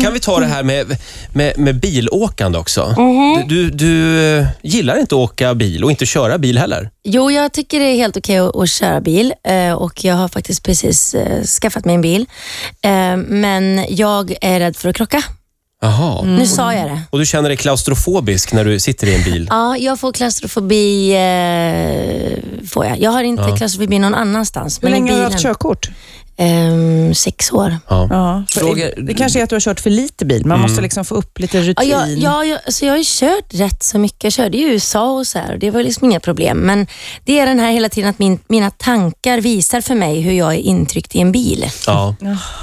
Kan vi ta det här med, med, med bilåkande också? Mhm. Du, du, du gillar inte att åka bil och inte köra bil heller. Jo, jag tycker det är helt okej att, att köra bil eh, och jag har faktiskt precis eh, skaffat mig en bil. Eh, Men jag är rädd för att krocka. Jaha. Mm. Nu sa jag det. Och du känner dig klaustrofobisk när du sitter i en bil? Ja, jag får klaustrofobi. Eh, får jag. jag har inte klaustrofobi någon annanstans. Hur men i länge har du bilen. haft körkort? Ehm, sex år. Ja. Ja, för Fråga- Det kanske är att du har kört för lite bil. Man Mm. måste liksom få upp lite Ja, rutin. jag, ja, jag, alltså jag har ju kört rätt så mycket. Jag körde i USA och så här och det var liksom inga problem. Men det är den här hela tiden att min, mina tankar visar för mig hur jag är intryckt i en bil. Ja.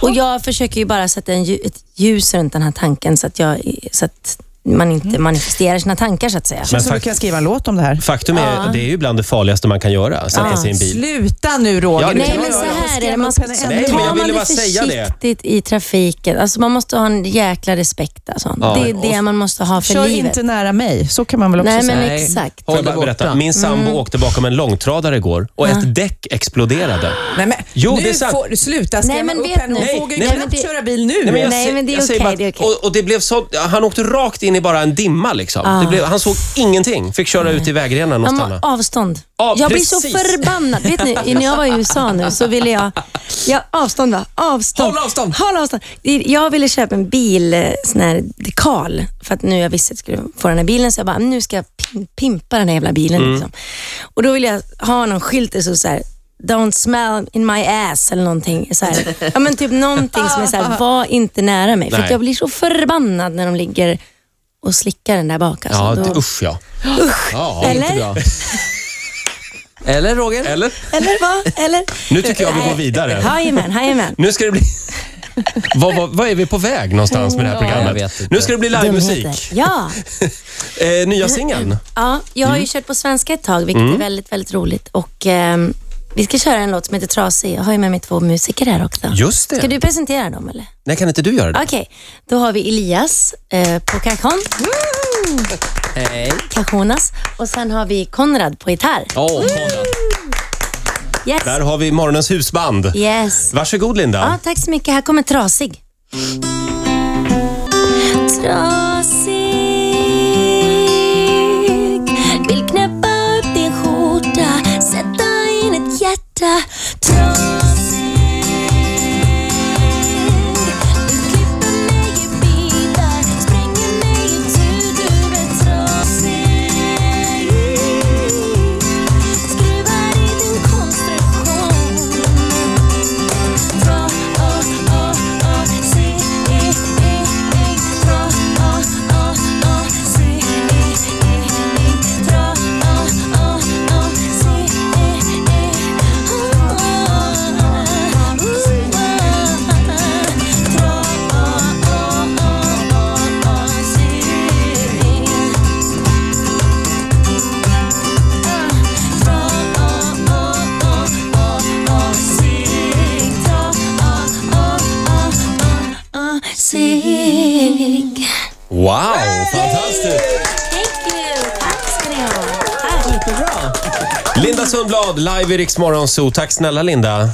Och jag försöker ju bara sätta en, lju- ett ljus runt den här tanken så att, jag, så att man Mm. inte manifesterar sina tankar så att säga. Men Så du fakt- kan skriva en låt om det här. faktum är, det är ju bland det farligaste man kan göra, sätta sig i en bil. Sluta nu Roger. Ja, Du det- Nej kan men göra så det. här är det, man ska Skrämma upp henne tar Nej, men jag ännu mer. ville bara man det säga det. försiktigt i trafiken. Alltså man måste ha en jäkla respekt. Alltså. Det är det man måste ha för Kör livet. inte nära mig. Så kan man väl också Nej, säga. men Nej. exakt. Får jag Håll bara det berätta? borta. Min sambo Mm. åkte bakom en långtradare igår och ett däck exploderade. Nej, men, Jo, nu det är sant. får du sluta skrämma Nej, men upp vet henne. Hon ni- vågar Nej, ju men knappt det- köra bil nu. jag Nej, sä- men det är jag säger okej, bara- det är okej. Och, och det blev så, han åkte rakt in i bara en dimma. Liksom. Det blev, han såg ingenting. Fick köra ut i vägrenen och Ah. Ja, men stanna. avstånd. Ja, jag blir så precis. förbannad. Vet ni, när jag var i USA nu så ville jag... Ja, avstånd va? Avstånd. Håll avstånd. Håll avstånd. Jag ville köpa en bil, eh, sån här dekal, för att nu jag visste att jag skulle få den här bilen, så jag bara, nu ska jag pim- pimpa den här jävla bilen. Mm. Liksom. Och då ville jag ha någon skylt där det stod så här, Don't smell in my ass eller någonting. Så här. Ja, men typ någonting som är så här, var inte nära mig. För Nej. att jag blir så förbannad när de ligger och slickar den där bak. Alltså. Ja, Då- det, usch ja. Ja, det är inte Eller? bra. Eller Roger? Eller? Eller vad? Eller? Nu tycker jag vi går Nej. vidare. Jajamän, jajamän. Nu ska det bli... Vad, vad, vad är vi på väg någonstans med det här Ja, jag programmet? vet inte. nu ska det bli livemusik. Dumheter. Ja. Eh, nya singeln. Mm. ja, jag har ju kört på svenska ett tag, vilket är väldigt, väldigt roligt. Och, ehm, vi ska köra en låt som heter Trasig. Jag har ju med mig två musiker här också. Just det. Ska du presentera dem eller? Nej, kan inte du göra det? Okej, då har vi Elias eh, på kajon, Hej. kajonas och sen har vi Konrad på gitarr. Åh, Konrad. Yes. Där har vi morgonens husband. yes. Varsågod Linda. Ja, tack så mycket. Här kommer Trasig. Trasig Vill knäppa upp din skjorta Sätta in ett hjärta Trasig Du klipper mig i bitar Spränger mig itu Du är trasig Skruvar i din konstruktion Sig. Wow, fantastiskt. Thank you. Tack ska ni ha. Tack. Linda Sundblad, live i Rix Morgon Zoo. Tack snälla Linda.